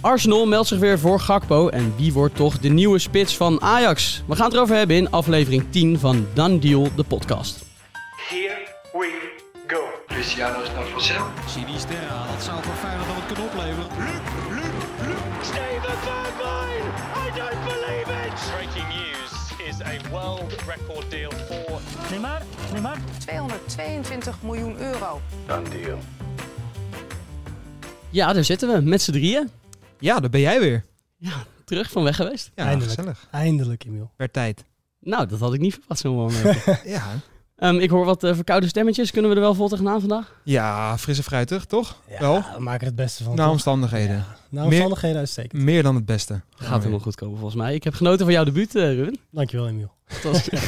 Arsenal meldt zich weer voor Gakpo en wie wordt toch de nieuwe spits van Ajax? We gaan het erover hebben in aflevering 10 van Dan Deal, de podcast. Here we go. Luciano's naar Vassel. Sinistera, dat zou voor Feyenoord dan wat kunnen opleveren. Steven Bergwijn! I don't believe it! Breaking news is a world record deal for 222 miljoen euro. Ja, daar zitten we met z'n drieën. Ja, daar ben jij weer. Terug van weg geweest. Ja, Eindelijk. gezellig. Eindelijk, Emiel. Per tijd. Nou, dat had ik niet verwacht zo'n moment. Ja. Ehm, ik hoor wat eh, verkoude stemmetjes. Kunnen we er wel vol tegenaan vandaag? Ja, frisse fruitig, toch? Ja, Wel, we maken het beste van. naar Nou, omstandigheden. nou omstandigheden uitstekend. Meer dan het beste. Gaat helemaal goed komen volgens mij. Ik heb genoten van jouw debuut, eh, Ruben. Dankjewel, Emiel. Het was eh,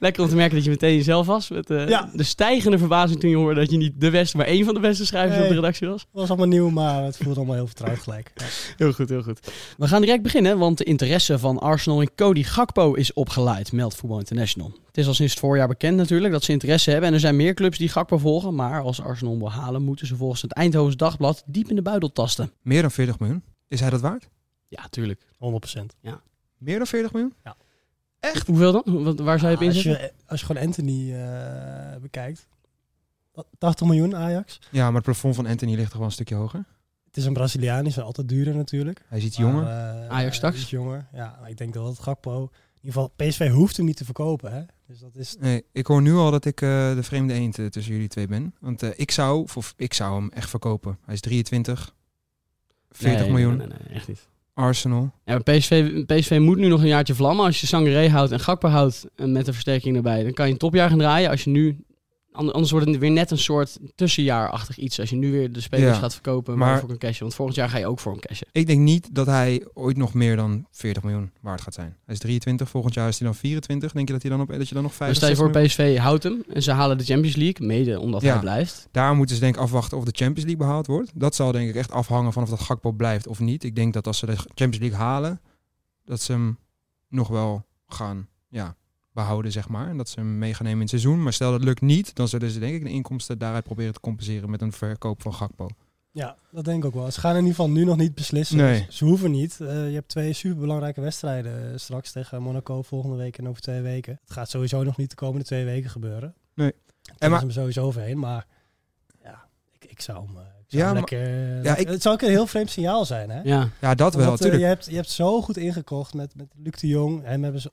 lekker om te merken dat je meteen jezelf was. Met eh, Ja. de stijgende verbazing toen je hoorde dat je niet de beste, maar één van de beste schrijvers op de Nee. redactie was. Het was allemaal nieuw, maar het voelde allemaal heel vertrouwd gelijk. Ja. Heel goed, heel goed. We gaan direct beginnen, want de interesse van Arsenal in Cody Gakpo is opgeleid, meldt Voetbal International. Het is al sinds het voorjaar bekend natuurlijk dat ze interesse hebben en er zijn meer clubs die Gakpo volgen. Maar als Arsenal hem wil halen, moeten ze volgens het Eindhovens Dagblad diep in de buidel tasten. Meer dan 40 miljoen. Is hij dat waard? Ja, tuurlijk. 100%. Meer dan 40 miljoen? Echt? Ah, Hoeveel dan? Wat- Waar zou Nou, je op als, inzetten? je, als je gewoon Anthony eh, bekijkt. 80 miljoen Ajax. Ja, maar het plafond van Anthony ligt toch wel een stukje hoger. Het is een Braziliaan, die is altijd duurder natuurlijk. Hij is iets Maar, jonger. eh, Ajax straks? Iets jonger. Ja, maar ik denk dat het Gakpo... In ieder geval, PSV hoeft hem niet te verkopen. Hè? Dus dat is... Nee, ik hoor nu al dat ik eh, de vreemde eend eh, tussen jullie twee ben. Want eh, ik, zou, voor- ik zou hem echt verkopen. Hij is 23, 40 Nee, miljoen. Nee, nee, nee, echt niet. Arsenal. Ja, maar PSV, PSV moet nu nog een jaartje vlammen. Als je Sangaré houdt en Gakpo houdt en met een versterking erbij, dan kan je een topjaar gaan draaien. Als je nu, ander- anders wordt het weer net een soort tussenjaarachtig iets. Als je nu weer de spelers Ja, gaat verkopen, maar- maar voor een cashje. Want volgend jaar ga je ook voor een cashje. Ik denk niet dat hij ooit nog meer dan 40 miljoen waard gaat zijn. Hij is 23, volgend jaar is hij dan 24. Denk je dat, hij dan op, dat je dan nog 50 Dus stel je 60 voor, PSV houdt hem en ze halen de Champions League, mede omdat Ja. hij blijft. Daar moeten ze denk ik afwachten of de Champions League behaald wordt. Dat zal denk ik echt afhangen van of dat Gakpo blijft of niet. Ik denk dat als ze de Champions League halen, dat ze hem nog wel gaan ja, behouden, zeg maar. En dat ze hem mee gaan nemen in het seizoen. Maar stel dat lukt niet, dan zullen ze denk ik de inkomsten daaruit proberen te compenseren met een verkoop van Gakpo. Ja, dat denk ik ook wel. Ze gaan in ieder geval nu nog niet beslissen. Nee. Ze hoeven niet. Eh, je hebt twee superbelangrijke wedstrijden eh, straks tegen Monaco volgende week en over twee weken. Het gaat sowieso nog niet de komende twee weken gebeuren. Nee. En maar- maar hem sowieso overheen, maar ja, ik, ik zou hem, eh, ik zou Ja, hem maar- lekker... eh, ja, ik- Het zou ook een heel vreemd signaal zijn, hè? Ja. Ja, dat wel, Want, eh, natuurlijk. je, hebt, je hebt zo goed ingekocht met, met Luc de Jong. Hem hebben ze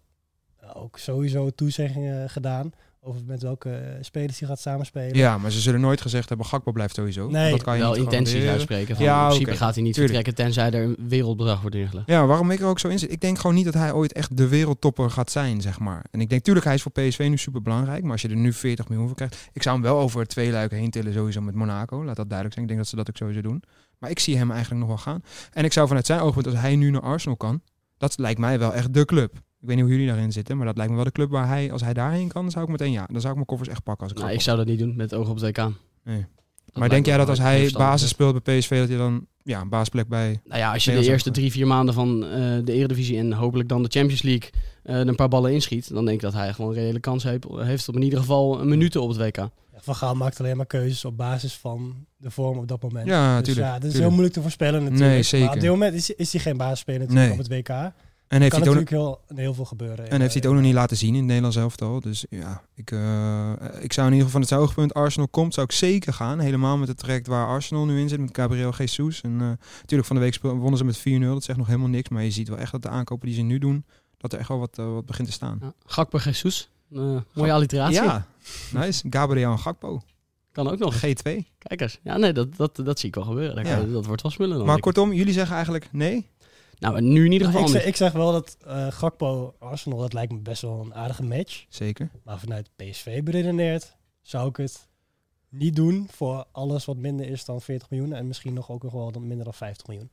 ook sowieso toezeggingen gedaan over met welke eh, spelers hij gaat samenspelen. Ja, maar ze zullen nooit gezegd hebben, Gakpo blijft sowieso. Nee, dat kan je Wel niet intenties garanderen. uitspreken. Van, Ja, in principe oké. gaat hij niet Tuurlijk. vertrekken, tenzij er een wereldbedrag wordt ingelegd. Ja, waarom ik er ook zo in zit. Ik denk gewoon niet dat hij ooit echt de wereldtopper gaat zijn, zeg maar. En ik denk, tuurlijk, hij is voor PSV nu super belangrijk. Maar als je er nu 40 miljoen voor krijgt. Ik zou hem wel over twee luiken heen tillen, sowieso met Monaco. Laat dat duidelijk zijn. Ik denk dat ze dat ook sowieso doen. Maar ik zie hem eigenlijk nog wel gaan. En ik zou vanuit zijn oogpunt, als hij nu naar Arsenal kan. Dat lijkt mij wel echt de club. Ik weet niet hoe jullie daarin zitten, maar dat lijkt me wel de club waar hij, als hij daarheen kan, dan zou ik meteen ja. Dan zou ik mijn koffers echt pakken. Als ik Nou, ik Gakpo- zou dat niet doen, met het oog op het WK. Nee. Dat maar lijkt denk me jij dat als een hij verstandig basis zet. speelt bij PSV, dat hij dan ja, een baasplek bij. Nou ja, als je de Nederlands eerste drie, vier maanden van eh, de Eredivisie en hopelijk dan de Champions League eh, er een paar ballen inschiet, dan denk ik dat hij gewoon een reële kans heeft, heeft om in ieder geval een minuten op het WK. Ja, Van Gaal maakt alleen maar keuzes op basis van de vorm op dat moment. Ja, Dus natuurlijk. ja, dat is tuurlijk. heel moeilijk te voorspellen natuurlijk. Nee, zeker. Maar op dit moment is, is hij geen basisspeler natuurlijk Nee. op het WK. Heeft En heeft kan hij het ook- natuurlijk heel, heel veel gebeuren. En heeft hij het ook nog niet laten zien in het Nederlands elftal. Dus ja, ik, eh, ik zou in ieder geval van het oogpunt Arsenal komt, zou ik zeker gaan. Helemaal met het traject waar Arsenal nu in zit, met Gabriel Jesus. En eh, natuurlijk van de week speel- wonnen ze met 4-0, dat zegt nog helemaal niks. Maar je ziet wel echt dat de aankopen die ze nu doen, dat er echt wel wat, eh, wat begint te staan. Ja. Gakpo Jesus, Eh, mooie alliteratie. Ja, nice. Gabriel en Gakpo, Kan ook nog. G2. Kijkers. Ja, nee, dat, dat, dat zie ik wel gebeuren. Daar Ja. kan- dat wordt wel smullen dan. Maar denk ik. kortom, jullie zeggen eigenlijk nee? Nou, nu in ieder Nou, geval ik, zeg, niet. ik zeg wel dat eh, Gakpo Arsenal, dat lijkt me best wel een aardige match. Zeker. Maar vanuit PSV beredeneerd zou ik het niet doen voor alles wat minder is dan 40 miljoen. En misschien nog ook nog wel dan minder dan 50 miljoen.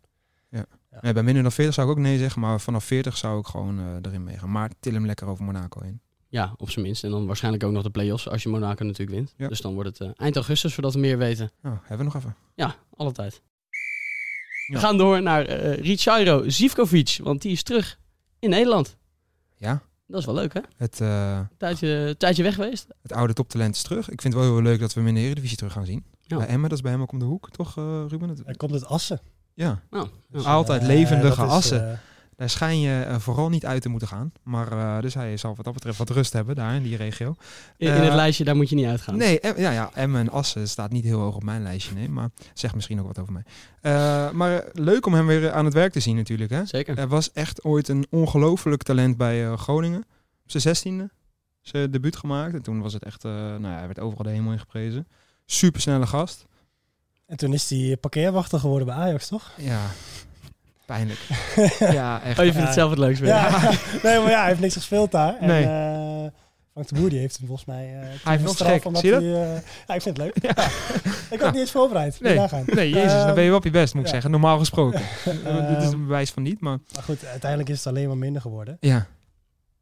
Nee, bij minder dan 40 zou ik ook nee zeggen, maar vanaf 40 zou ik gewoon eh, erin meegaan. Maar til hem lekker over Monaco heen. Ja, op zijn minst. En dan waarschijnlijk ook nog de play-offs als je Monaco natuurlijk wint. Ja. Dus dan wordt het eh, eind augustus voordat we meer weten. Nou, hebben we nog even. Ja, alle tijd. Ja. We gaan door naar eh Richairo Zivkovic, want die is terug in Nederland. Ja, Dat is wel leuk, hè? het... eh, Tijdje, tijdje weg geweest. het oude toptalent is terug. Ik vind het wel heel leuk dat we hem in de Eredivisie terug gaan zien. Ja. Bij Emmen, dat is bij hem ook om de hoek, toch eh, Ruben? Het- Er komt het Assen. Ja, Nou, Dus, ja. altijd Eh, levendige dat is, assen. eh, Daar schijn je eh, vooral niet uit te moeten gaan. Maar eh, dus hij zal wat dat betreft wat rust hebben daar in die regio. in, in het eh, lijstje, daar moet je niet uitgaan. Nee, Em- ja, ja, Emmen en Assen staat niet heel hoog op mijn lijstje. Nee, maar zegt misschien ook wat over mij. Eh, maar eh, leuk om hem weer aan het werk te zien natuurlijk. Hè? Zeker. Hij was echt ooit een ongelooflijk talent bij eh, Groningen. Op zijn zestiende zijn debuut gemaakt. En toen was het echt, eh, nou ja, hij werd overal de hemel in geprezen. Supersnelle gast. en toen is hij parkeerwachter geworden bij Ajax, toch? Ja, pijnlijk. ja, echt. Oh, je vindt Ja. het zelf het leukst weer. Ja. nee, maar ja, hij heeft niks gespeeld daar. En, Nee. eh, Frank de Boer die heeft hem volgens mij... eh, toen nog gestraft gek. omdat Zie je dat? hij, eh, ja, ik vind het leuk. Ja. Ik had Nou. niet eens voorbereid. Moet je Nee. nagaan. Nee, jezus, dan ben je wel op je best, moet ik ja. zeggen. Normaal gesproken. Dit is Ehm, een bewijs van niet, maar... Maar goed, uiteindelijk is het alleen maar minder geworden. Ja,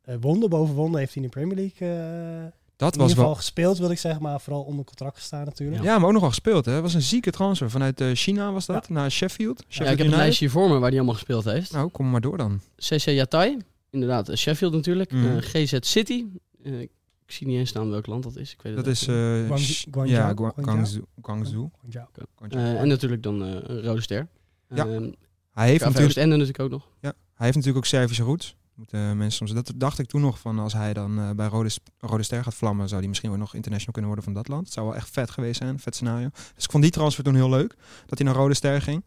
Eh, wonder boven wonder heeft hij in de Premier League eh, dat in ieder was geval wel... gespeeld, wil ik zeggen. Maar vooral onder contract gestaan natuurlijk. Ja, maar ook nog wel gespeeld, hè. Het was een zieke transfer. Vanuit eh, China was dat, naar Sheffield. Ja, Sheffield ik heb een United. lijstje voor me waar die allemaal gespeeld heeft. Nou, kom maar door dan. CC Yatai, inderdaad. eh, Sheffield natuurlijk. Mhm. eh, GZ City. eh, ik zie niet eens staan welk land dat is. Ik weet het Dat is... eh eigenlijk Guangzhou- Sh- Guangzhou- Ja, Gua- Guangzhou? Guangzhou. Guangzhou. Want ja, niet. Eh, en natuurlijk dan eh, een Rode Ster. Ja, Eh, Hij heeft KV natuurlijk... Oostende natuurlijk ook nog. Ja, hij heeft natuurlijk ook Servische roots. Moeten eh, mensen soms, dat dacht ik toen nog van als hij dan eh, bij Rode, Sp- Rode Ster gaat vlammen, zou hij misschien ook nog international kunnen worden van dat land. Het zou wel echt vet geweest zijn, vet scenario. Dus ik vond die transfer toen heel leuk, dat hij naar Rode Ster ging.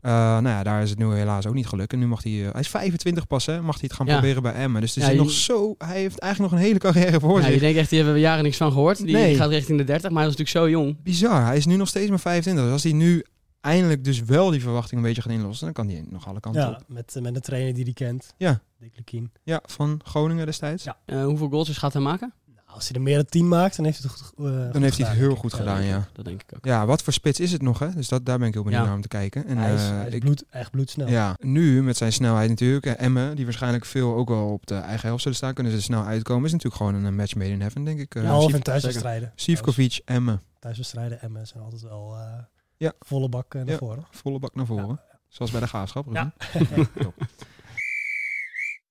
Eh, nou ja, daar is het nu helaas ook niet gelukt. En nu mag hij, eh, hij is 25 pas hè, mag hij het gaan Ja. proberen bij Emmen. Dus er Ja, zit je- nog zo, hij heeft eigenlijk nog een hele carrière voor Ja, Nou, je zich. denkt echt, die hebben we jaren niks van gehoord. Die Nee. gaat richting de 30, maar hij was natuurlijk zo jong. Bizar, hij is nu nog steeds maar 25. Dus als hij nu eindelijk dus wel die verwachting een beetje gaat inlossen, dan kan hij nog alle kanten ja op. met, eh, met een trainer die hij kent. Ja. Dick Lukien. Ja, van Groningen destijds. Ja. Eh, hoeveel goals dus gaat hij maken? Nou, als hij er meer dan 10 maakt, dan heeft hij het goed, eh, goed Dan heeft hij het gedaan. heel goed gedaan, ja. Eh, Dat denk ik ook. Ja, wat voor spits is het nog, hè? Dus dat, daar ben ik heel benieuwd Ja. naar om te kijken. En, Hij is, eh, hij is ik- bloed, echt bloedsnel. ja, nu met zijn snelheid natuurlijk. En Emmen, die waarschijnlijk veel ook wel op de eigen helft zullen staan, kunnen ze er snel uitkomen. Is natuurlijk gewoon een match made in heaven, denk ik. eh. Ja, of Sivko- in thuiswedstrijden. Sivkovic, Emmen. Thuiswedstrijden en mensen zijn altijd wel eh, Ja. volle bak eh, naar Ja. voren. Volle bak naar voren. Zoals bij de graafschap. Ruben.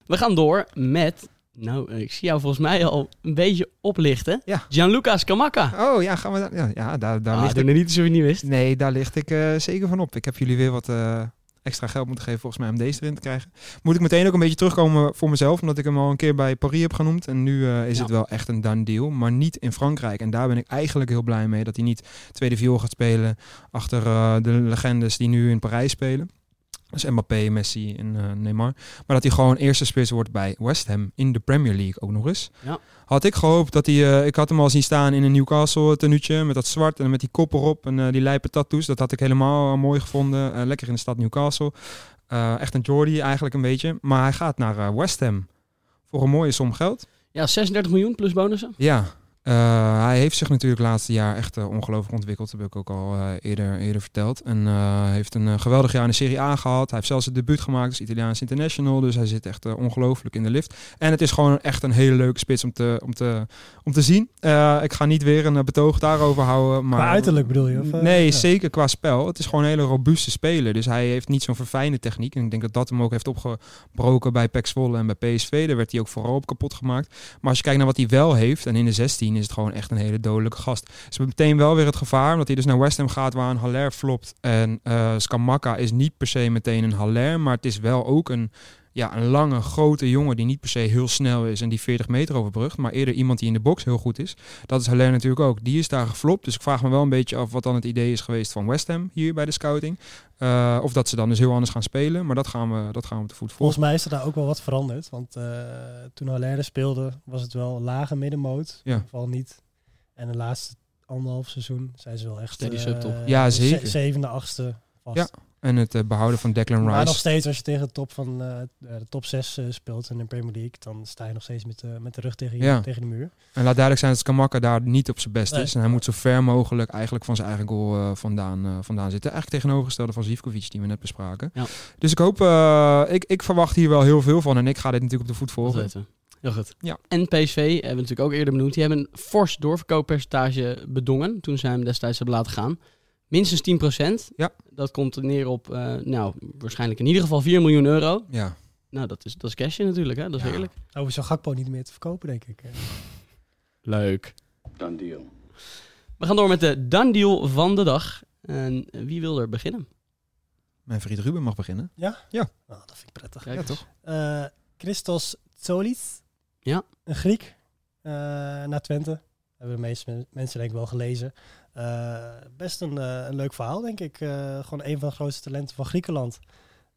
We gaan door met... Nou, eh, ik zie jou volgens mij al een beetje oplichten. Ja. Gianluca Scamacca. Oh ja, gaan we daar. Ja, ja daar, daar Ah, ligt doe ik. nou niet alsof je het niet wist. Nee, daar ligt ik eh, zeker van op. Ik heb jullie weer wat eh, extra geld moeten geven, volgens mij, om deze erin te krijgen. Moet ik meteen ook een beetje terugkomen voor mezelf, omdat ik hem al een keer bij Paris heb genoemd. En nu eh, is Ja. het wel echt een done deal, maar niet in Frankrijk. En daar ben ik eigenlijk heel blij mee, dat hij niet tweede viool gaat spelen achter eh, de legendes die nu in Parijs spelen. Dus Mbappé, Messi en eh, Neymar. Maar dat hij gewoon eerste spits wordt bij West Ham in de Premier League ook nog eens. Ja. Had ik gehoopt dat hij... eh, ik had hem al zien staan in een Newcastle tenuutje met dat zwart en met die kop erop en eh, die lijpe tattoos. Dat had ik helemaal eh, mooi gevonden. Eh, lekker in de stad Newcastle. Eh, echt een Jordy eigenlijk een beetje. Maar hij gaat naar eh, West Ham voor een mooie som geld. Ja, 36 miljoen plus bonussen. Ja, eh, hij heeft zich natuurlijk het laatste jaar echt eh, ongelooflijk ontwikkeld. Dat heb ik ook al eh, eerder, eerder verteld. En eh, heeft een eh, geweldig jaar in de Serie A gehad. Hij heeft zelfs het debuut gemaakt als Italiaans International. Dus hij zit echt eh, ongelooflijk in de lift. En het is gewoon echt een hele leuke spits om te, om te, om te zien. Eh, ik ga niet weer een eh, betoog daarover houden. Maar Qua uiterlijk bedoel je? Of, eh, Nee, ja. zeker qua spel. Het is gewoon een hele robuuste speler. Dus hij heeft niet zo'n verfijnde techniek. En ik denk dat dat hem ook heeft opgebroken bij PEC Zwolle en bij PSV. Daar werd hij ook vooral op kapot gemaakt. Maar als je kijkt naar wat hij wel heeft, en in de 16 is het gewoon echt een hele dodelijke gast. Dus meteen wel weer het gevaar, omdat hij dus naar West Ham gaat waar een Haller flopt. En eh Skamaka is niet per se meteen een Haller, maar het is wel ook een... Ja, een lange, grote jongen die niet per se heel snel is en die 40 meter overbrugt. Maar eerder iemand die in de box heel goed is. Dat is Haller natuurlijk ook. Die is daar geflopt. Dus ik vraag me wel een beetje af wat dan het idee is geweest van West Ham hier bij de scouting. Eh, of dat ze dan dus heel anders gaan spelen. Maar dat gaan we, dat gaan we op de voet volgen. Volgens mij is er daar ook wel wat veranderd. Want eh, toen Haller speelde, was het wel lage middenmoot. Ja. In ieder geval niet. En de laatste anderhalf seizoen zijn ze wel echt... Steady eh, subtop. Ja, ze- zeker. Zevende, achtste vast. Ja, En het eh, behouden van Declan Maar nog Rice. steeds, als je tegen de top van eh, de top 6 speelt in de Premier League, dan sta je nog steeds met, de- met de rug tegen, je- Ja. tegen de muur. En laat duidelijk zijn dat Skamaka daar niet op zijn best Nee. is. En hij moet zo ver mogelijk eigenlijk van zijn eigen goal eh, vandaan, eh, vandaan zitten. Eigenlijk tegenovergestelde van Zivkovic die we net bespraken. Ja. Dus ik hoop, eh, ik, ik verwacht hier wel heel veel van. En ik ga dit natuurlijk op de voet Dat volgen. weten we. Heel goed. Ja. En PSV hebben eh, we natuurlijk ook eerder benoemd. Die hebben een fors doorverkooppercentage bedongen toen zij hem destijds hebben laten gaan. Minstens 10%. Ja. Dat komt neer op, eh, nou, waarschijnlijk in ieder geval 4 miljoen euro. Ja. Nou, dat is, dat is cashje natuurlijk, hè? Dat is Ja. heerlijk. Over zo'n Gakpo niet meer te verkopen, denk ik. eh. Leuk. We gaan door met de done deal van de dag. En wie wil er beginnen? Mijn vriend Ruben mag beginnen. Nou, dat vind ik prettig. Kijk eens. Ja, toch? Eh, Christos Tsolis. Ja. Een Griek. eh, naar Twente. Hebben de meeste men- mensen denk ik wel gelezen. Eh, best een, eh, een leuk verhaal, denk ik. Eh, gewoon een van de grootste talenten van Griekenland.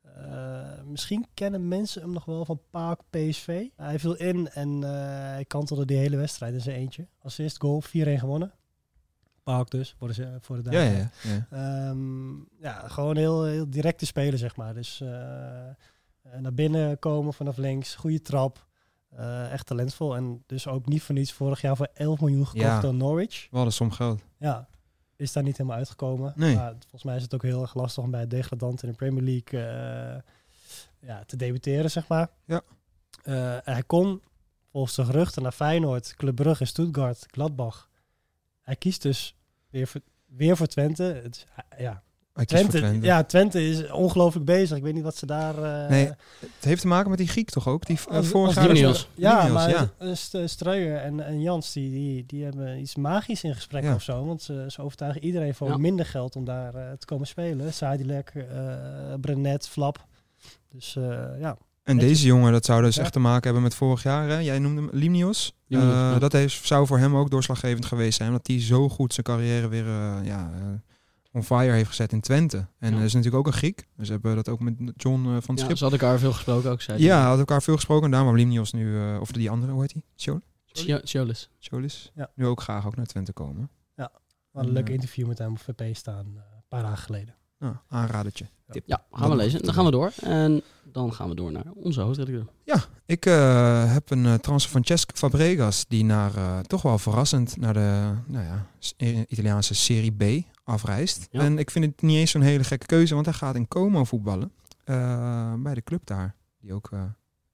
Eh, misschien kennen mensen hem nog wel van Paak PSV. Hij viel in en eh, hij kantelde die hele wedstrijd in zijn eentje. Als eerste goal, 4-1 gewonnen. Paak dus, voor de, voor de Ja, Daniërs. ja, ja. ja. Ehm, ja, gewoon heel, heel directe spelen, zeg maar. Dus eh, eh, naar binnen komen vanaf links, goede trap. Eh, echt talentvol. En dus ook niet voor niets vorig jaar voor 11 miljoen gekocht Ja. door Norwich. We hadden som geld. Ja, is daar niet helemaal uitgekomen. Nee. Maar volgens mij is het ook heel erg lastig om bij het degradant in de Premier League eh, ja, te debuteren, zeg maar. Ja. Eh, en hij kon volgens de geruchten naar Feyenoord, Club Brugge, Stuttgart, Gladbach. Hij kiest dus weer voor, weer voor Twente. Het, is- ja, Hij kiest voor Twente, Twente. Ja, Twente is ongelooflijk bezig. Ik weet niet wat ze daar... eh, Nee, Het heeft te maken met die Griek toch ook? Die eh, Als- vorig als jaar... Juniors. Ja, Juniors, maar ja. eh, St- Streuer en, en Jans, die, die, die hebben iets magisch in gesprek Ja. of zo. Want ze, ze overtuigen iedereen voor Ja. minder geld om daar eh, te komen spelen. Sadilek, eh Brenet, Flap. Dus eh, ja, En Weet deze jongen, dat zou dus Ja. echt te maken hebben met vorig jaar. Hè? Jij noemde hem Limnios. Limnios, Eh, ja. Dat heeft, zou voor hem ook doorslaggevend geweest zijn. Omdat hij zo goed zijn carrière weer eh, ja, eh, on fire heeft gezet in Twente. En Ja. dat is natuurlijk ook een Griek. Dus hebben we dat ook met John eh, van het Ja, dus Schip. ze hadden elkaar veel gesproken ook, zei hij. Ja, had elkaar veel gesproken. En daarom wou Limnios nu, eh, of die andere, hoe heet hij? Chol- Tjo- Tjolis. Cholis? Ja. Nu ook graag ook naar Twente komen. we hadden een leuk Ja. interview met hem op VP staan eh, een paar dagen geleden. Nou, aanradertje. Tip. Ja, gaan we lezen. Dan gaan we door. En dan gaan we door naar onze hoofdredacteur. Ik eh, heb een eh, transfer van Cesc Fabregas die naar, eh, toch wel verrassend naar de nou ja, S- I- Italiaanse Serie B afreist. Ja. En ik vind het niet eens zo'n hele gekke keuze, want hij gaat in Como voetballen. Eh, bij de club daar, die ook eh,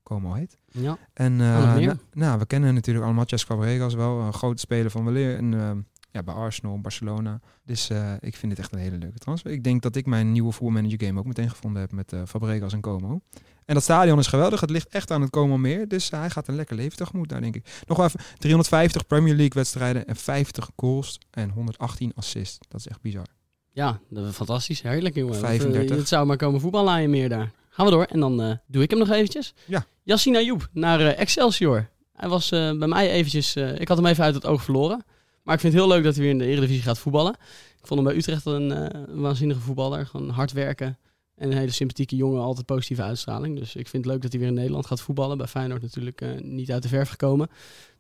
Como heet. Ja, En eh, Kan het meer? na- nou, we kennen natuurlijk allemaal Cesc Fabregas wel, een grote speler van weleer. En, eh, ja, bij Arsenal, Barcelona. Dus eh, ik vind dit echt een hele leuke transfer. Ik denk dat ik mijn nieuwe voetbalmanager game ook meteen gevonden heb met eh, Fabregas en Como. En dat stadion is geweldig. Het ligt echt aan het Como meer. Dus hij gaat een lekker leven tegemoet daar, denk ik. Nog wel even 350 Premier League wedstrijden en 50 goals en 118 assists. Dat is echt bizar. ja dat is fantastisch. Heerlijk, jongen. 35. Het zou maar komen voetballaaien meer daar. Gaan we door. En dan eh, doe ik hem nog eventjes. Ja. Yassine Ayoub naar eh, Excelsior. Hij was eh, bij mij eventjes... eh, ik had hem even uit het oog verloren. Maar ik vind het heel leuk dat hij weer in de Eredivisie gaat voetballen. Ik vond hem bij Utrecht een eh, een waanzinnige voetballer. Gewoon hard werken. En een hele sympathieke jongen, altijd positieve uitstraling. Dus ik vind het leuk dat hij weer in Nederland gaat voetballen. Bij Feyenoord natuurlijk eh, niet uit de verf gekomen.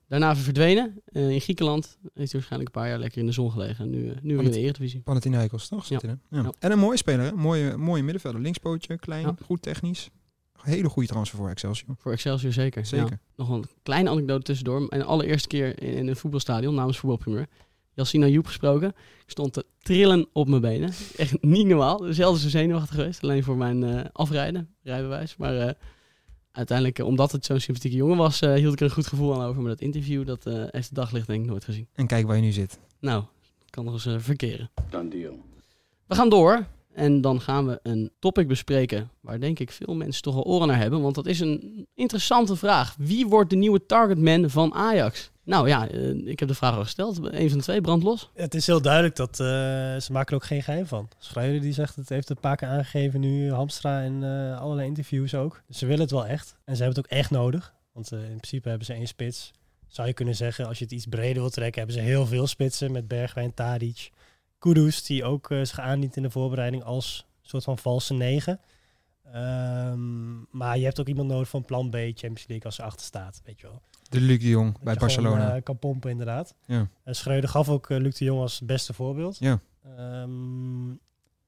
Daarna weer verdwenen. Eh, in Griekenland heeft hij waarschijnlijk een paar jaar lekker in de zon gelegen. En nu, eh, nu weer in de Eredivisie. Panathinaikos, toch? Zit Ja. hij er? Ja. Ja. En een mooie speler, hè? Mooie, mooie middenvelder. Linkspootje, klein, Ja. goed technisch. Hele goede transfer voor Excelsior. Voor Excelsior zeker. Zeker. Ja. Nog een kleine anekdote tussendoor. En de allereerste keer in, in een voetbalstadion namens voetbalprimeur. Jassina Joep gesproken. Ik stond te trillen op mijn benen. Echt niet normaal. Zelden zo zenuwachtig geweest. Alleen voor mijn eh, afrijden, rijbewijs. Maar eh, uiteindelijk, eh, omdat het zo'n sympathieke jongen was, eh, hield ik er een goed gevoel aan over. Maar dat interview, dat eh heeft het daglicht denk ik nooit gezien. En kijk waar je nu zit. Nou, kan nog eens eh, verkeren. Done deal. We gaan door. En dan gaan we een topic bespreken waar denk ik veel mensen toch al oren naar hebben. Want dat is een interessante vraag. Wie wordt de nieuwe targetman van Ajax? Nou ja, eh, ik heb de vraag al gesteld. Een van de twee brandt los. Het is heel duidelijk dat eh, ze maken er ook geen geheim van. Schreuder die zegt het, heeft het een paar keer aangegeven nu. Hamstra en eh, allerlei interviews ook. Dus ze willen het wel echt. En ze hebben het ook echt nodig. Want eh, in principe hebben ze één spits. Zou je kunnen zeggen, als je het iets breder wil trekken, hebben ze heel veel spitsen met Bergwijn, Tadic, Kudus, die ook eh, zich aandient in de voorbereiding als soort van valse negen. Ehm, maar je hebt ook iemand nodig van plan B, Champions League, als ze achter staat, weet je wel. De Luc de Jong bij Dat je gewoon, Barcelona. eh, kan pompen, inderdaad. Ja. En Schreuder gaf ook eh, Luc de Jong als beste voorbeeld. Ja. Ehm,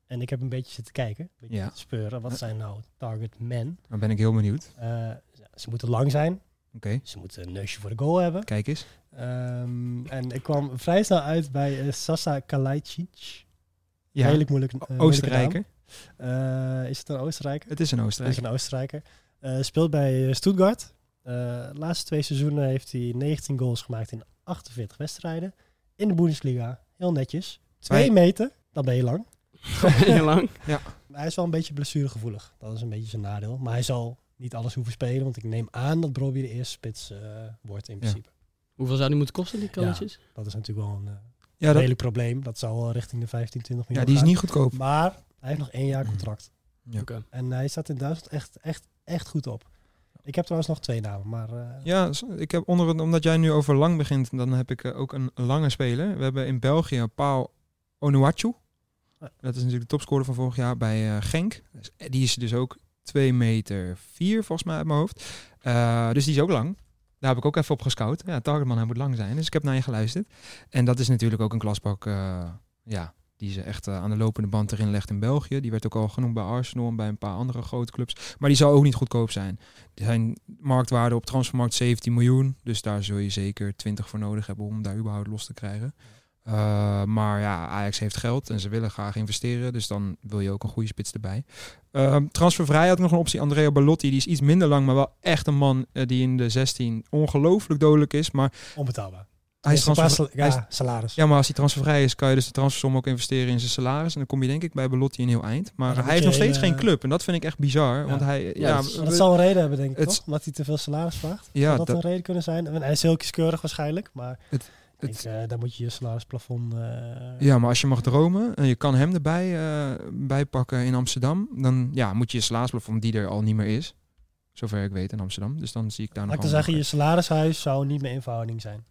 en ik heb een beetje zitten kijken, een beetje Ja. zitten speuren. Wat zijn nou target men? Dan ben ik heel benieuwd. Eh, ze moeten lang zijn. Oké, Ze moeten een neusje voor de goal hebben. kijk eens. Ehm, en ik kwam vrij snel uit bij eh, Sasa Kalajdzic. Ja, Redelijk moeilijk. eh, moeilijke Oostenrijker. naam. Eh, is het een Oostenrijker? Het is een Hij is Oostenrijker. een Oostenrijker. Eh, speelt bij eh, Stuttgart. Eh, de laatste twee seizoenen heeft hij 19 goals gemaakt in 48 wedstrijden. In de Bundesliga. Heel netjes. Twee Wij- meter, dan ben je lang. Heel lang. Maar hij is wel een beetje blessuregevoelig. Dat is een beetje zijn nadeel. Maar hij zal niet alles hoeven spelen. Want ik neem aan dat Brobbey de eerste spits eh, wordt in Ja. principe. Hoeveel zou die moeten kosten, die kalletjes? Dat is natuurlijk wel een eh, Ja, dat, redelijk probleem. Dat zou wel richting de 15, 20 miljoen ja, die is gaan. niet goedkoop. Mm. Maar hij heeft nog één jaar contract. Ja. Oké. En hij staat in Duitsland echt, echt, echt goed op. Ik heb trouwens nog twee namen, maar eh, Ja, s- ik heb onder, het- omdat jij nu over lang begint, dan heb ik eh, ook een lange speler. We hebben in België Paul Onuachu. Ja. Dat is natuurlijk de topscorer van vorig jaar bij eh, Genk. Dus, eh, Die is dus ook 2 meter 4 volgens mij uit mijn hoofd. Eh, dus die is ook lang. Daar heb ik ook even op gescout. Ja, Targetman, hij moet lang zijn. Dus ik heb naar je geluisterd. En dat is natuurlijk ook een klasbak eh, ja, die ze echt eh, aan de lopende band erin legt in België. Die werd ook al genoemd bij Arsenal en bij een paar andere grote clubs. Maar die zal ook niet goedkoop zijn. Zijn marktwaarde op transfermarkt 17 miljoen. Dus daar zul je zeker 20 voor nodig hebben om daar überhaupt los te krijgen. Uh, maar ja, Ajax heeft geld en ze willen graag investeren. Dus dan wil je ook een goede spits erbij. Ehm, transfervrij had ik nog een optie. Andrea Ballotti, die is iets minder lang, maar wel echt een man eh, die in de 16 ongelooflijk dodelijk is. Maar onbetaalbaar. hij is, een paar transfer... sal- hij is ja, salaris. ja, maar als hij transfervrij is, kan je dus de transfersom ook investeren in zijn salaris. En dan kom je denk ik bij Belotti een heel eind. Maar Ja, dan hij moet heeft je nog steeds hele- geen club. En dat vind ik echt bizar. Want hij... Ja, dat is- Maar dat zal een reden hebben, denk ik, Het- toch? Omdat hij te veel salaris vraagt. ja, Zou dat, een reden kunnen zijn? En hij is heel kieskeurig waarschijnlijk, maar Het- ik denk, eh, daar moet je je salarisplafond... eh, Ja, maar als je mag dromen en je kan hem erbij eh, bij pakken in Amsterdam, dan ja, moet je je salarisplafond die er al niet meer is. Zover ik weet in Amsterdam. Dus dan zie ik daar Laat nog ik dan wel zeggen, je nog- salarishuis zou niet meer in verhouding zijn.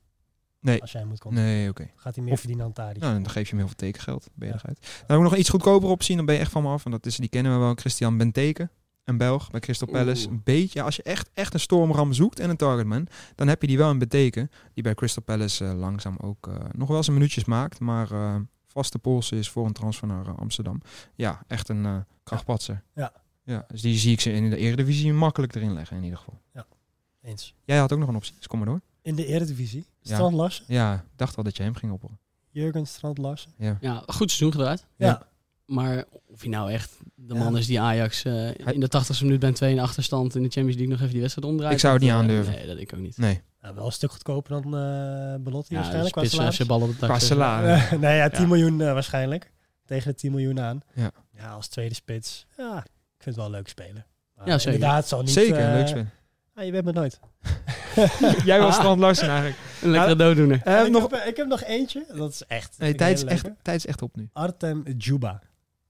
Nee. Als jij hem moet komen. Nee, oké. Gaat hij meer Of- verdienen aan Tadic. Nou, dan geef je hem heel veel tekengeld. Ben je Ja. eruit. Dan moet ik nog iets goedkoper op zien, dan ben je echt van me af. En dat is, die kennen we wel, Christian Benteke. Een Belg bij Crystal Palace. Oeh. Een beetje, ja, als je echt, echt een stormram zoekt en een targetman, dan heb je die wel in Benteke. Die bij Crystal Palace eh, langzaam ook eh, nog wel zijn minuutjes maakt. Maar eh, vaste pols is voor een transfer naar eh, Amsterdam. Ja, echt een eh krachtpatser. Ja. ja. Dus die zie ik ze in de Eredivisie makkelijk erin leggen in ieder geval. Eens. Jij had ook nog een optie, dus kom maar door. In de Eredivisie. Ja. Strand Larsen. Ja, dacht al dat je hem ging oppakken. Jurgen Strand Larsen. Ja, goed seizoen gedraaid. Ja. Ja. Maar of hij nou echt de Ja. man is die Ajax eh, in de 80ste minuut bij een 2 in achterstand in de Champions League nog even die wedstrijd omdraait. Ik zou het niet dat, eh, aandurven. Nee, dat ik ook niet. dus Nee, Nou, wel een stuk goedkoper dan eh Belotti Ja, waarschijnlijk. Qua spitsen salaris. FC bal op dus, het dak. qua zetten. salaris. Eh, nee, ja, 10 Ja. miljoen eh, waarschijnlijk. Tegen de 10 miljoen aan. Ja. ja, als tweede spits. Ja, ik vind het wel een leuk spelen. Maar Ja, zeker. Inderdaad, het zal niet... Zeker, eh, leuk spel. ah, je bent me nooit. Jij was Ah. Strand Larsen eigenlijk. Een lekkere dooddoener. Eh, ik, nog, heb, ik heb nog eentje. Dat is echt... nee, vind ik tijd is, een echt, leuke. tijd is echt op nu. Artem Juba.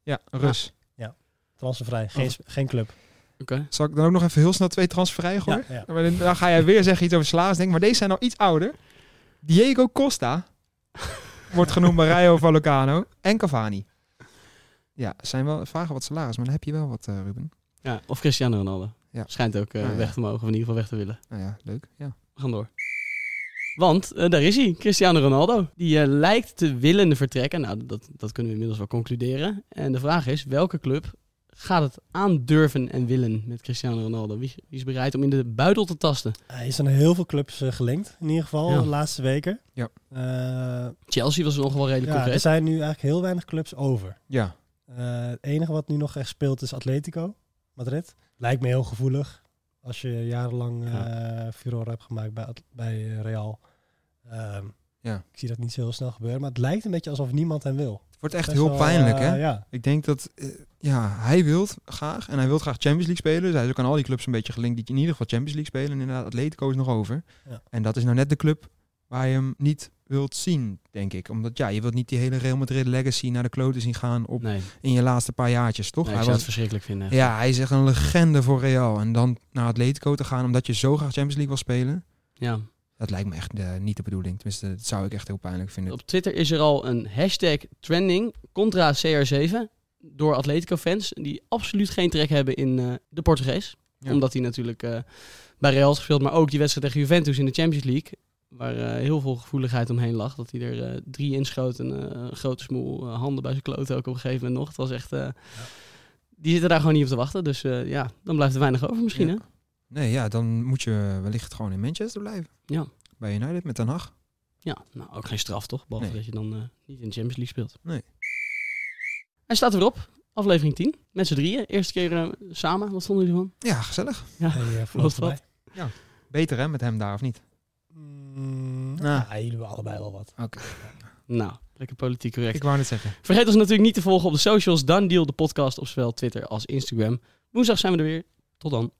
Ja, Rus. Transfervrij. Oh. Geen, sp- geen club. Oké. Zal ik dan ook nog even heel snel twee transferijen gooien? Ja, ja. Maar dan, dan ga jij weer zeggen iets over salaris. Denk, ik, maar deze zijn al iets ouder. Diego Costa wordt genoemd bij Rayo Vallecano. En Cavani. Ja, zijn wel vragen wat salaris, maar dan heb je wel wat, eh, Ruben. Ja, of Cristiano Ronaldo. Ja. Schijnt ook eh, Ah, ja. weg te mogen, of in ieder geval weg te willen. Nou ja, leuk. Ja. We gaan door. Want eh, daar is hij, Cristiano Ronaldo. Die eh, lijkt te willen vertrekken. Nou, dat, dat kunnen we inmiddels wel concluderen. En de vraag is, welke club gaat het aandurven en willen met Cristiano Ronaldo? Wie, wie is bereid om in de buidel te tasten? Hij is aan heel veel clubs eh, gelinkt, in ieder geval Ja. de laatste weken. Ja. Eh, Chelsea was nog wel redelijk ja, er concreet. zijn nu eigenlijk heel weinig clubs over. ja. Eh, het enige wat nu nog echt speelt is Atletico Madrid. Lijkt me heel gevoelig als je jarenlang eh furore hebt gemaakt bij, At- bij eh, Real. Ehm, Ja. Ik zie dat niet zo heel snel gebeuren, maar het lijkt een beetje alsof niemand hem wil. Het wordt echt Best heel wel, pijnlijk, eh, hè? Ja. Ik denk dat eh, ja, hij wil graag. En hij wil graag Champions League spelen. Dus hij is ook aan al die clubs een beetje gelinkt die in ieder geval Champions League spelen. En inderdaad, Atletico is nog over. Ja. En dat is nou net de club waar je hem niet wilt zien, denk ik. Omdat ja, je wilt niet die hele Real Madrid legacy naar de kloten zien gaan op, Nee, in je laatste paar jaartjes, toch? nee, ik hij zou het verschrikkelijk vinden. ja, hij is echt een legende voor Real. En dan naar Atletico te gaan omdat je zo graag Champions League wil spelen. Ja. Dat lijkt me echt eh, niet de bedoeling. Tenminste, dat zou ik echt heel pijnlijk vinden. Op Twitter is er al een hashtag trending contra CR7 door Atletico-fans die absoluut geen trek hebben in eh, de Portugees. Ja. Omdat hij natuurlijk eh, bij Real is gespeeld, maar ook die wedstrijd tegen Juventus in de Champions League, waar eh, heel veel gevoeligheid omheen lag. Dat hij er eh, drie inschoot en eh, een grote smoel eh, handen bij zijn kloten ook op een gegeven moment nog. Het was echt... eh, Die zitten daar gewoon niet op te wachten. Dus eh, ja, dan blijft er weinig over misschien, Ja. hè? Nee, ja, dan moet je wellicht gewoon in Manchester blijven. Ja. Bij United met Den Haag. Ja, nou ook geen straf toch? Behalve Nee. dat je dan eh, niet in de Champions League speelt. Nee. Hij staat er weer op, aflevering 10. Met z'n drieën, eerste keer eh, samen. Wat vonden jullie ervan? Ja, gezellig. Hij, eh, vloog Wat erbij. Beter hè, met hem daar of niet? Mm, Nou. ja, jullie hebben allebei wel wat. Nou, lekker politiek correct. Ik wou net zeggen. Vergeet ons natuurlijk niet te volgen op de socials. Dan Deal, de podcast, op zowel Twitter als Instagram. Woensdag zijn we er weer. Tot dan.